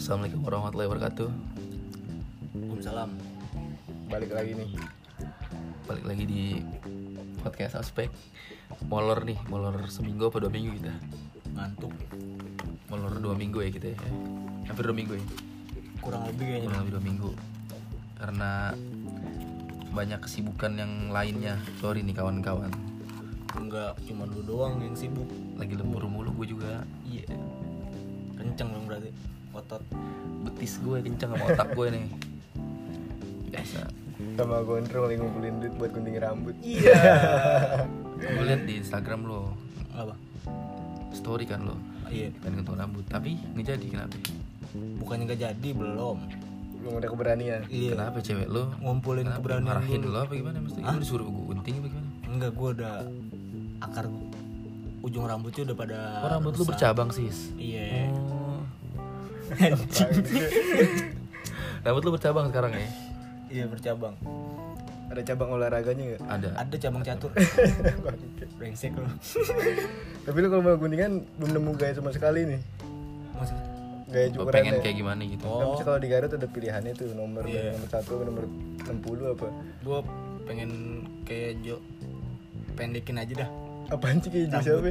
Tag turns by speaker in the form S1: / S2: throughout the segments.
S1: Assalamualaikum warahmatullahi wabarakatuh.
S2: Waalaikumsalam.
S3: balik lagi nih
S1: Balik lagi di podcast Aspek. Molor nih, molor seminggu apa dua minggu kita?
S2: Ngantuk.
S1: Molor dua minggu ya kita ya. Hampir dua minggu ya.
S2: Kurang lebih kayaknya.
S1: Kurang lebih dua minggu. Karena banyak kesibukan yang lainnya. Sorry nih kawan-kawan.
S2: Enggak cuma lu doang yang sibuk.
S1: Lagi lembur mulu gue juga.
S2: Iya. Kenceng dong berarti otot.
S1: Betis gue kenceng sama otak gue nih. Biasa.
S3: sama gondrong lagi ngumpulin duit buat gunting rambut
S2: Iya.
S1: Gue liat di Instagram lo
S2: Apa?
S1: story kan lo
S2: Iya.
S1: pengen kentung rambut tapi nggak jadi kenapa
S2: Bukannya nggak jadi belum.
S3: belum ada keberanian
S2: Iya.
S1: kenapa cewek lo
S2: Ngumpulin
S1: Kenapa?
S2: keberanian
S1: marahin
S2: dulu.
S1: lo apa gimana mesti lu disuruh gue gunting apa gimana
S2: Enggak, gua udah akar ujung rambutnya udah pada
S1: oh rambut lu
S2: rusak.
S1: bercabang sis
S2: Iya.
S1: oh. rambut lu bercabang sekarang ya
S2: Iya bercabang.
S3: ada cabang olahraganya nggak
S1: ada
S2: Ada cabang catur. Brengsek lu.
S3: tapi lu kalau mau guntingan belum nemu gaya sama sekali nih
S2: Masih
S3: gaya
S1: Lu
S3: cukuran
S1: Oh, pengen
S3: ya
S1: kayak gimana gitu
S3: Kan bisa kalau di Garut ada pilihannya tuh nomor
S2: Iya.
S3: dari nomor satu ke nomor 60 apa
S2: gua pengen kayak Jo pendekin aja dah.
S3: apaan sih kayak gitu, ya? jus apa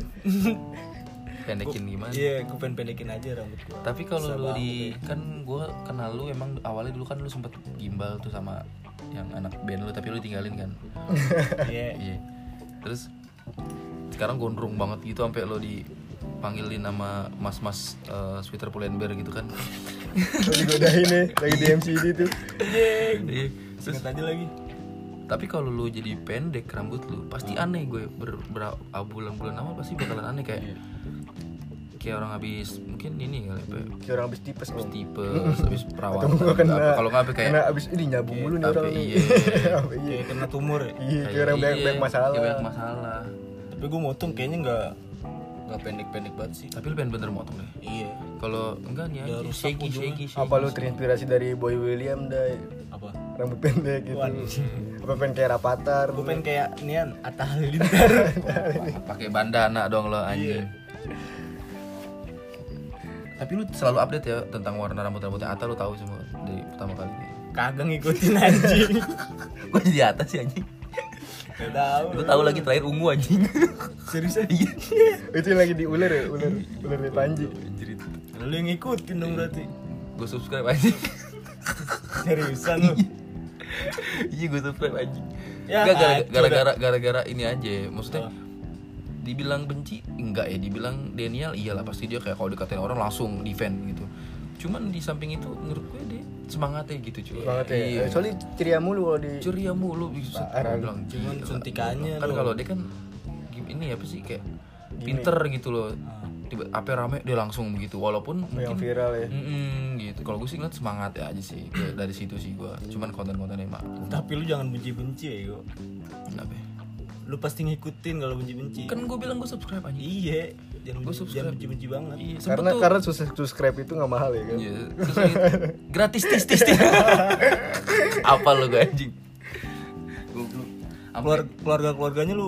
S1: pendekin gimana
S2: Iya, gue pengen pendekin aja rambut gua.
S1: tapi kalau lu
S2: Bisa
S1: di kan gue kenal lu emang awalnya dulu kan lu sempet gimbal tuh sama yang anak band lu tapi lu tinggalin kan
S2: Iya.
S1: Iya. Terus sekarang gondrong banget gitu sampai lo dipanggilin sama mas-mas eh, sweater pull&bear gitu kan.
S3: Lu digodain nih lagi di MCD tuh
S1: Iya. Terus,
S2: Ingat aja lagi.
S1: tapi kalau lu jadi pendek rambut lu pasti aneh gue ber, ber- ah, bulan-bulan awal pasti bakalan aneh kayak kayak orang habis mungkin ini kali apa ya,
S3: kayak orang abis tipes
S1: habis
S3: om
S1: tipes habis perawatan
S3: atau gua
S1: gitu. Apa-
S3: kena
S1: kalau nggak apa kayak
S3: kena abis ini nyabung mulu nih
S1: Tapi
S3: orang nih
S1: iya.
S3: Apa iya
S2: Kayak kena tumor ya.
S3: iya kayak orang
S1: iya,
S3: banyak banyak masalah
S1: kayak banyak masalah.
S2: Tapi gue motong kayaknya nggak nggak pendek-pendek banget sih.
S1: Tapi lu pengen bener motong deh.
S2: Iya.
S1: Kalau enggak nih
S2: Udah
S1: aja
S2: rusak
S1: shaky
S2: ujungnya.
S1: shaky shaky.
S3: apa lu terinspirasi dari Boy William dai
S2: Apa?
S3: rambut pendek gitu apa pengen kayak rapatar
S2: Gue pengen kayak nian Atta Halilintar.
S1: pakai bandana dong lo anjing. Tapi lu selalu update ya tentang warna rambut-rambutnya Ata lu tahu semua dari pertama kali.
S2: Kagak ngikutin anjing.
S1: Gue jadi atas sih anjing.
S2: Gak tahu.
S1: Gue tahu lagi terakhir ungu anjing.
S2: Serius ya? aja.
S1: Iya.
S3: itu yang lagi diuler ya ular ular di panji
S2: Lu yang ngikutin dong berarti.
S1: Gue subscribe anjing.
S2: Seriusan lu.
S1: Iya gue subscribe anjing.
S2: Ya,
S1: Nggak, gara-
S2: kacau
S1: gara-gara gara-gara ini aja.
S3: Ah.
S1: Maksudnya dibilang benci enggak ya dibilang Daniel iyalah pasti dia kayak kalau dikatain orang langsung defend gitu cuman di samping itu menurut gue dia semangatnya gitu cuy
S3: banget ya
S1: Iya.
S3: soalnya ceria mulu kalau di
S1: ceria mulu bisa
S3: Parah Iya, lu.
S1: bilang
S2: Cuman
S1: "Gila."
S2: suntikannya
S1: kan
S2: lu.
S1: kalau dia kan gim- ini apa sih kayak pinter gitu loh tiba apa rame dia langsung begitu walaupun
S3: yang
S1: mungkin
S3: viral ya
S1: Mm-mm, gitu kalau gue sih ngeliat semangat ya aja sih Kayak dari situ sih gue cuman konten-kontennya mah
S2: Tapi lu jangan benci-benci ya, Go.
S1: kenapa ya?
S2: Lu pasti ngikutin kalau benci-benci.
S1: kan gue bilang gue subscribe aja
S2: Iya, jangan
S1: Gua
S2: benci-
S1: subscribe.
S2: jangan benci-benci banget.
S1: iya sempet
S3: karena kan-
S1: tuh-
S3: karena sus- subscribe itu nggak mahal ya kan
S1: Iya, terus lagi, gratis tis tis tis apa lo gue anjing Goblok. Sampai-
S2: Keluar- keluarga-keluarganya lu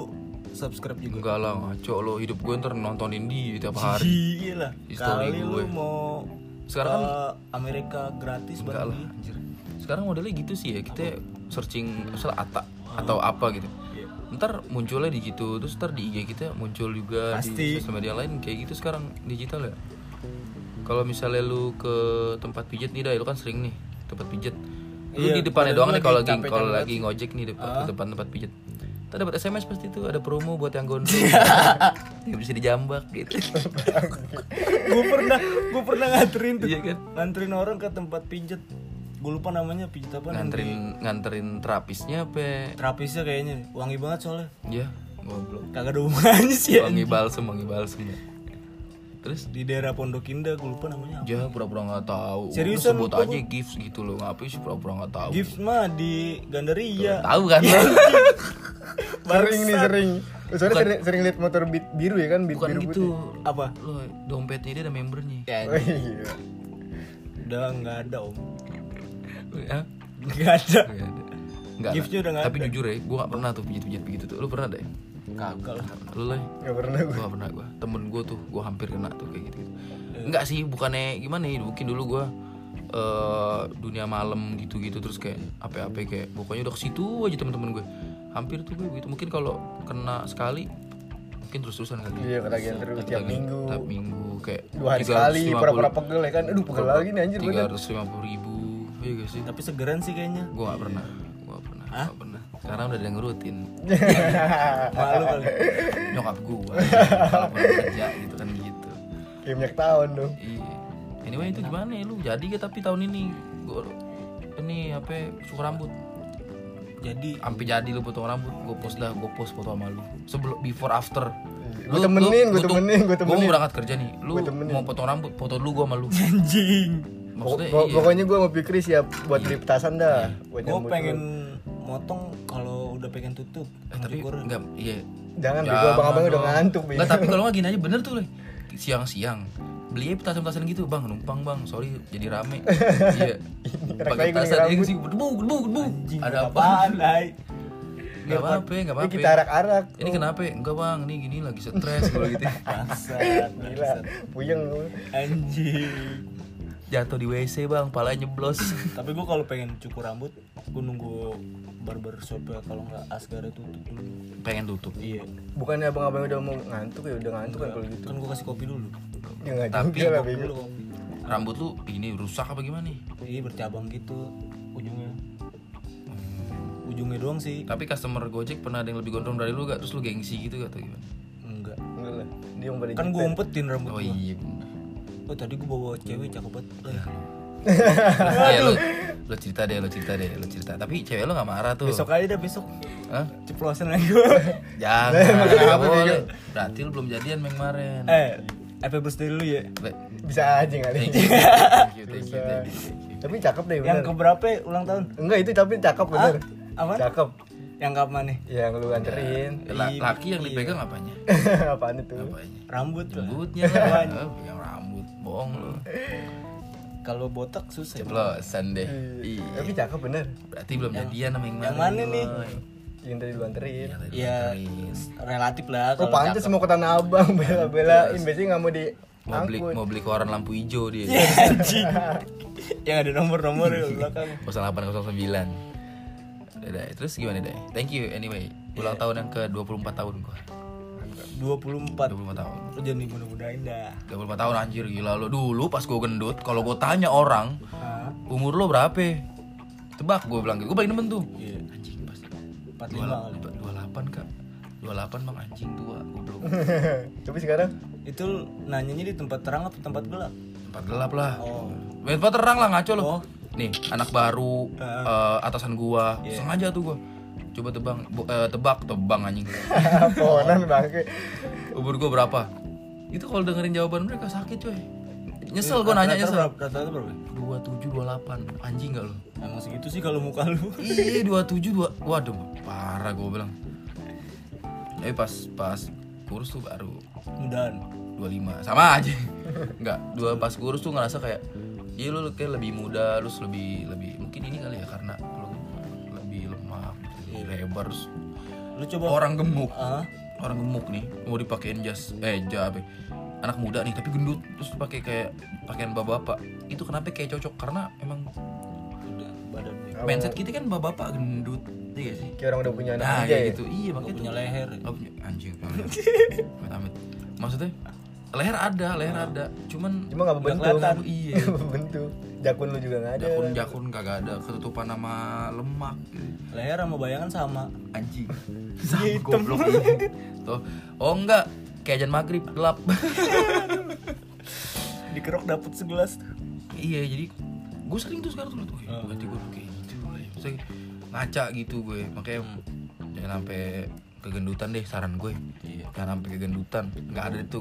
S2: subscribe juga.
S1: enggak lah ngaco lo hidup gue ntar nontonin dia tiap hari
S2: Iya lah.
S1: History
S2: Kali
S1: gue.
S2: lu mau
S1: Sekarang kan
S2: ke Amerika gratis
S1: Enggak
S2: baru
S1: lah,
S2: beli.
S1: anjir. Sekarang modelnya gitu sih ya, kita searching misal Ata atau apa gitu.
S2: Iya.
S1: Ntar munculnya di gitu, terus ntar di IG kita muncul juga
S2: Pasti.
S1: di sosial media lain kayak gitu sekarang digital ya. Kalau misalnya lu ke tempat pijat nih, Dai, lu kan sering nih tempat pijat. Lu di
S2: Iya,
S1: depannya
S2: badan
S1: doang
S2: gua
S1: nih kalau
S2: lagi
S1: lagi
S2: capek-capek
S1: kalau
S2: banget
S1: lagi ngojek nih depan, ke depan tempat pijat. Ntar dapat SMS pasti tuh ada promo buat yang gondrong.
S2: Iya.
S1: Nggak bisa dijambak gitu.
S2: gue pernah gue pernah nganterin tuh.
S1: Iya kan?
S2: Nganterin orang ke tempat pijet. Gue lupa namanya pijet apa yang di-
S1: nganterin nganterin terapisnya apa?
S2: Terapisnya kayaknya wangi banget soalnya.
S1: Ya, goblok.
S2: Kagak ada hubungannya sih. ya.
S1: wangi balsem wangi balsem ya. terus
S2: Di daerah Pondok Indah gue lupa namanya. apa.
S1: dia pura-pura nggak tahu Lu
S2: Seriusan,
S1: sebut
S2: lupa
S1: aja gifts gitu loh ngapain sih pura-pura nggak tahu
S2: Gifts Iya. mah di Gandaria.
S1: tahu kan lo
S3: sering nih sering soalnya sering, sering lihat motor beat biru ya kan beat
S1: bukan
S3: biru
S1: gitu
S3: putih
S2: Apa?
S1: lo dompetnya dia ada membernya
S2: Ya.
S3: oh iya
S2: Udah nggak ada om.
S1: Hah?
S2: Nggak ada.
S1: Nggak ada. Nggak
S2: Gifts-nya
S1: ada.
S2: udah nggak
S1: tapi jujur ya gue nggak pernah tuh pijit-pijit begitu tuh lo pernah deh
S2: Kagak lah.
S1: lo lah
S3: nggak pernah
S1: gue
S3: gue
S1: gak pernah gue temen gue tuh gue hampir kena tuh kayak gitu, -gitu. enggak sih bukannya gimana ya mungkin dulu gue eh, dunia malam gitu-gitu terus kayak apa-apa kayak pokoknya udah ke situ aja teman-teman gue hampir tuh gue gitu mungkin kalau kena sekali mungkin terus-terusan kali
S3: Iya, ketagihan terus tiap
S1: Lagi-
S3: minggu.
S1: tiap minggu kayak
S3: Dua hari sekali
S1: 350
S3: pura-pura pegel ya kan. Aduh, pegel lagi nih anjir gue.
S1: tiga ratus lima puluh ribu iya gak sih
S2: Tapi segeran sih kayaknya.
S1: gue gak pernah gue gak pernah gak pernah sekarang udah ada yang ngurutin
S2: Malu kali.
S1: nyokap gue kalau pulang kerja gitu kan gitu
S3: Kayak minyak tahun dong.
S1: iya anyway itu gimana ya lu jadi gak tapi tahun ini gue ini apa ya? suka rambut
S2: Jadi
S1: sampai jadi lu potong rambut gue post dah gue post foto sama lu sebelum before after
S3: Gua temenin, gua temenin, gua
S1: Gue
S3: temenin.
S1: mau berangkat kerja nih. Lu mau potong rambut, foto dulu gue sama lu.
S2: anjing.
S1: Maksudnya
S3: Pok-
S1: iya.
S3: Pokoknya gue mau Fikri siap buat trip tasan dah.
S2: Gue
S3: Buat nyambut lu.
S2: pengen motong kalau udah pengen tutup.
S1: Eh, tapi enggak, iya.
S3: Jangan bego abang-abang udah
S1: dong.
S3: ngantuk bego.
S1: Enggak, tapi kalau nggak gini aja bener tuh, Le. Siang-siang beli petasan-petasan gitu, Bang, numpang, Bang. Sorry jadi rame. iya. Pakai
S3: kali gua
S1: petasan
S3: ngerambut.
S1: ini sih, debu, debu, debu.
S2: Anjing,
S1: Ada apa?
S2: apaan, Lai?
S1: Enggak apa-apa, enggak
S3: Ini
S1: apa-apa.
S3: kita arak-arak.
S1: Ini kenapa? ya? Enggak, Bang. Ini gini lagi stres gua gitu.
S2: Bangsat,
S3: Gila,
S2: bangsat.
S3: puyeng lu.
S2: Anjing.
S1: Jatuh di WC, Bang, palanya nyeblos.
S2: Tapi gue kalau pengen cukur rambut, gue nunggu barber shop ya kalau nggak Asgara tutup dulu.
S1: Pengen tutup.
S2: Iya.
S3: Bukannya abang-abang udah mau ngantuk ya udah ngantuk kan kalau gitu.
S2: Kan gue kasih kopi dulu.
S3: Ya enggak
S1: Tapi
S3: juga lah
S1: gua-
S3: bego.
S2: Dulu kopi.
S1: Rambut lu ini rusak apa gimana nih?
S2: Iya bercabang gitu ujungnya. Ujungnya doang sih.
S1: Tapi customer Gojek pernah ada yang lebih gondrong dari lu gak? Terus lu gengsi gitu gak atau gimana?
S2: Enggak.
S3: Enggak lah. Dia yang pada
S2: Kan gue umpetin rambut
S1: Oh
S2: gue.
S1: iya bener.
S2: Oh tadi gue bawa cewek cakep banget. Eh,
S1: Iya lu, lu cerita deh, lu cerita deh, lu cerita. Tapi cewek lu gak marah tuh.
S2: Besok aja dah besok.
S1: Hah?
S2: Ceplosan lagi gue.
S1: Jangan. nggak boleh. Berarti lu belum jadian main kemarin.
S2: eh, happy birthday dulu ya.
S1: Le-
S3: bisa aja kali.
S1: Thank you, thank you, thank you, thank you.
S3: Tapi cakep deh
S2: Yang
S3: bener.
S2: keberapa ya ulang tahun?
S3: Enggak itu tapi cakep bener.
S2: Apa?
S3: Cakep.
S2: Yang kapan nih?
S3: ya, Yang lu anterin.
S1: La- Laki yang dipegang apanya? Iya.
S3: Apaan itu?
S1: Apanya?
S2: Rambut lah.
S1: Rambutnya lah. Eh, Pegang rambut, bohong lu.
S2: Kalau botak susah.
S1: Ceplosan deh.
S3: Iya.
S1: Iya.
S3: Tapi cakep bener.
S1: Berarti belum jadian sama yang
S2: yang
S1: kemarin,
S2: mana nih?
S1: woy.
S3: Yang tadi lu anterin.
S1: Yang tadi
S2: Ya
S1: dianterin.
S2: relatif lah.
S3: Oh
S2: kalau
S3: pantes mau ke Tanah Abang
S1: Iya,
S3: bela-belain biasanya nggak mau di
S1: Mau beli mau beli koran lampu hijau dia.
S2: Iya. anjing yang ada nomor-nomor di belakang
S1: 0809 Dadah, terus gimana deh? Thank you anyway. Ulang tahun yang ke 24 tahun gua. 25
S2: 24
S1: tahun.
S2: lu jangan dimudah-mudahin dah
S1: 25 tahun anjir gila lo. Dulu pas gua gendut, kalau gua tanya orang, umur lo berapa? Tebak gua bilang gitu. Gua paling demen tuh.
S2: iya
S1: Anjing pasti.
S2: 45 kali
S1: 28 Kak. 28 Bang anjing tua goblok.
S3: Tapi sekarang
S2: itu lu nanyanya di tempat terang atau tempat gelap
S1: Tempat gelap lah.
S2: Oh.
S1: Main tempat terang lah ngaco lo. Nih, anak baru eh, atasan gua.
S2: Iya.
S1: Sengaja tuh gua. Coba tebang bo- eh, tebak tebang anjing.
S3: pohonan bangke.
S1: umur gue berapa itu kalau dengerin jawaban mereka sakit coy nyesel gue nanya nyesel
S2: Iya, berapa rata-rata berapa
S1: dua tujuh dua delapan anjing gak lo
S2: emang segitu sih kalau muka lu
S1: iya dua tujuh dua waduh parah gue bilang tapi pas pas kurus tuh baru
S2: mudahan
S1: 25 sama aja nggak dua pas kurus tuh ngerasa kayak iya lu kayak lebih muda terus lebih lebih mungkin ini kali ya karena lu lebih lemah lebih lebar terus
S2: lu coba
S1: orang gemuk
S2: ah
S1: orang gemuk nih mau dipakein jas eh jas apa ya, anak muda nih tapi gendut terus pakai kayak pakaian bapak-bapak itu kenapa kayak cocok karena emang
S2: udah badan dia
S1: mindset kita kan bapak-bapak gendut iya gak sih
S3: Kayak orang udah punya anak
S1: nah
S3: aja
S1: kayak
S3: ya.
S1: gitu iya
S2: Gak
S1: makanya
S2: punya
S1: tuh
S2: leher
S1: Oh, punya- anjing amit amit maksudnya leher ada leher ada cuman
S3: Cuma nggak
S1: Nggak
S3: berbentuk.
S1: kelihatan, iya.
S3: Nggak berbentuk. Jakun lu juga nggak ada.
S1: jakun jakun kagak ada ketutupan sama lemak gitu.
S2: leher sama bayangan sama
S1: anjing sama goblok tuh oh enggak kayak ajan maghrib gelap
S2: dikerok dapet segelas
S1: Iya jadi gue sering tuh sekarang tuh liat, wih berarti gue kayak gitu lah ya." Maksudnya ngaca gitu gue makanya jangan sampai kegendutan deh saran gue jangan sampai kegendutan nggak ada itu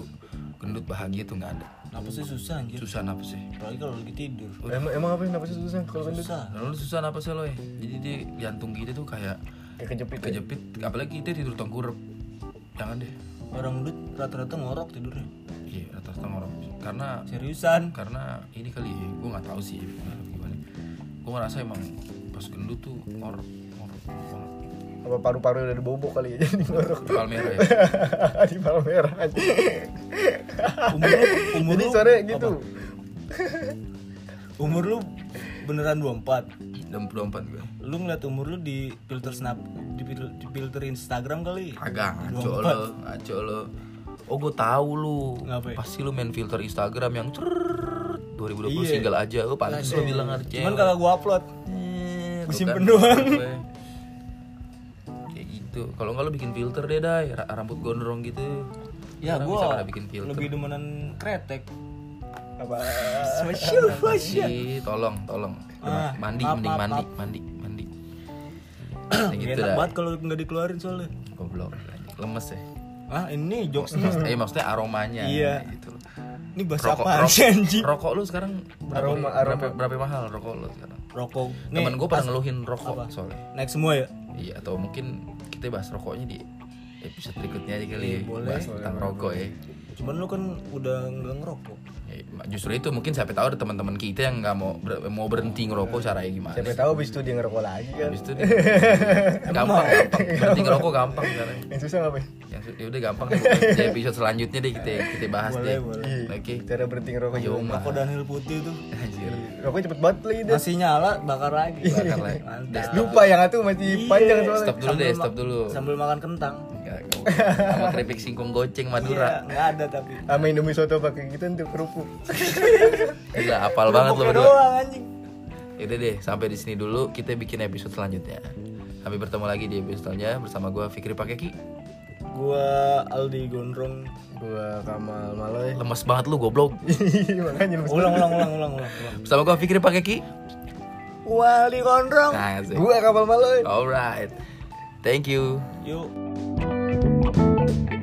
S1: gendut bahagia tuh nggak ada
S2: kenapa sih susah anjir
S1: susah apa sih
S2: apalagi kalau lagi tidur
S3: Emang emang apa sih nafasnya susah kalau gendut?
S2: susah
S1: lalu susah apa sih lo ya jadi dia jantung kita tuh kayak
S3: Kayak kejepit. ya?
S1: kejepit apalagi kita tidur tengkurap jangan deh
S2: orang gendut rata-rata ngorok tidurnya
S1: iya atas tengorok karena
S2: seriusan
S1: karena ini kali ya, gue nggak tahu sih gimana gue ngerasa emang pas gendut tuh ngorok ngorok ngorok
S3: Apa paru-paru udah dibobok kali ya jadi ngorok.
S1: Palmera ya
S3: di Palmerah aja.
S2: umur lu umur
S3: Jadi gitu.
S2: lu
S3: sore gitu.
S2: umur lu beneran 24
S1: 24 gue
S2: lu ngeliat umur lu di filter snap di filter, di filter Instagram kali
S1: agak ngaco lo ngaco lo oh gue tahu lu
S2: Ngapain?
S1: pasti lu main filter Instagram yang cerrrr, 2020
S2: Iya.
S1: single aja oh pantes lu bilang harus cewek.
S2: cuman kagak gua upload
S1: Eh,
S2: Gua
S1: tuh
S2: simpen
S1: kan,
S2: doang.
S1: gue. kayak gitu kalau nggak lu bikin filter deh dai ra- rambut gondrong gitu
S2: ya
S1: Orang bisa
S2: gua
S1: pada bikin filter
S2: lebih demenan kretek
S3: apa
S2: Spesial, spesial.
S1: Ih, tolong tolong
S2: Ah,
S1: mandi
S2: maaf,
S1: mending
S2: maaf,
S1: mandi, mandi mandi mandi
S2: Gak
S1: gitu
S2: enak
S1: dah
S2: banget kalau nggak dikeluarin soalnya
S1: goblok lemes ya
S2: ah ini jokesnya
S1: Maksudnya, eh, maksudnya aromanya
S2: Iya.
S1: gitu loh.
S2: ini bahasa
S1: Rokok,
S2: apaan sih anjing
S1: rokok, rokok lu sekarang berapa,
S3: Aroma,
S1: berapa,
S3: aroma.
S1: berapa mahal rokok lu sekarang?
S2: rokok Nih,
S1: Temen gue
S2: pas
S1: pernah ngeluhin rokok soalnya.
S2: naik semua ya
S1: Iya, atau mungkin kita bahas rokoknya di episode berikutnya aja kali.
S2: Iya,
S1: ya.
S2: boleh.
S1: Bahas tentang rokok ya.
S2: cuman lu kan udah nggak ngerokok
S1: Ya, Justru itu mungkin siapa tahu ada teman-teman kita yang nggak mau ber- mau berhenti ngerokok caranya gimana?
S3: siapa tahu abis itu dia ngerokok lagi kan
S1: Habis itu dia- gampang, gampang. Berhenti ngerokok gampang caranya.
S3: yang susah ngapain
S1: Yang su- ya udah gampang deh. pokoknya Di episode selanjutnya deh kita kita bahas
S2: Boleh,
S1: deh.
S2: boleh. Iya.
S1: Oke.
S3: cara berhenti ngerokok
S1: Yo,
S3: juga
S1: mah.
S2: rokok Daniel putih tuh
S1: Anjir.
S3: rokoknya cepet banget lagi dia
S2: masih nyala bakar lagi
S1: Bakar lagi. Nah,
S2: Mantap.
S3: lupa yang itu masih panjang soalnya
S1: Stop dulu deh, stop dulu.
S2: sambil makan kentang
S1: Nggak, nggak boleh. Sama keripik singkong goceng Madura.
S2: Iya, nggak ada tapi
S3: sama Indomie soto pakai gitu untuk kerupuk
S1: Gila, apal banget lo
S2: Kerupuknya
S1: berdua.
S2: doang anjing
S1: Yaudah deh, sampai di sini dulu kita bikin episode selanjutnya. Sampai bertemu lagi di episode selanjutnya bersama gue Fikri Pakeki.
S2: gua Aldi Gondrong
S3: gua Kamal Maloy
S1: Eh, Lemes banget lu goblok.
S3: makanya lu
S2: ulang ulang ulang ulang ulang ulang.
S1: Bersama gue Fikri Pakeki.
S2: gua Aldi Gondrong
S1: Nah, asik.
S3: gua Kamal Maloy
S1: Alright. Thank you.
S2: yuk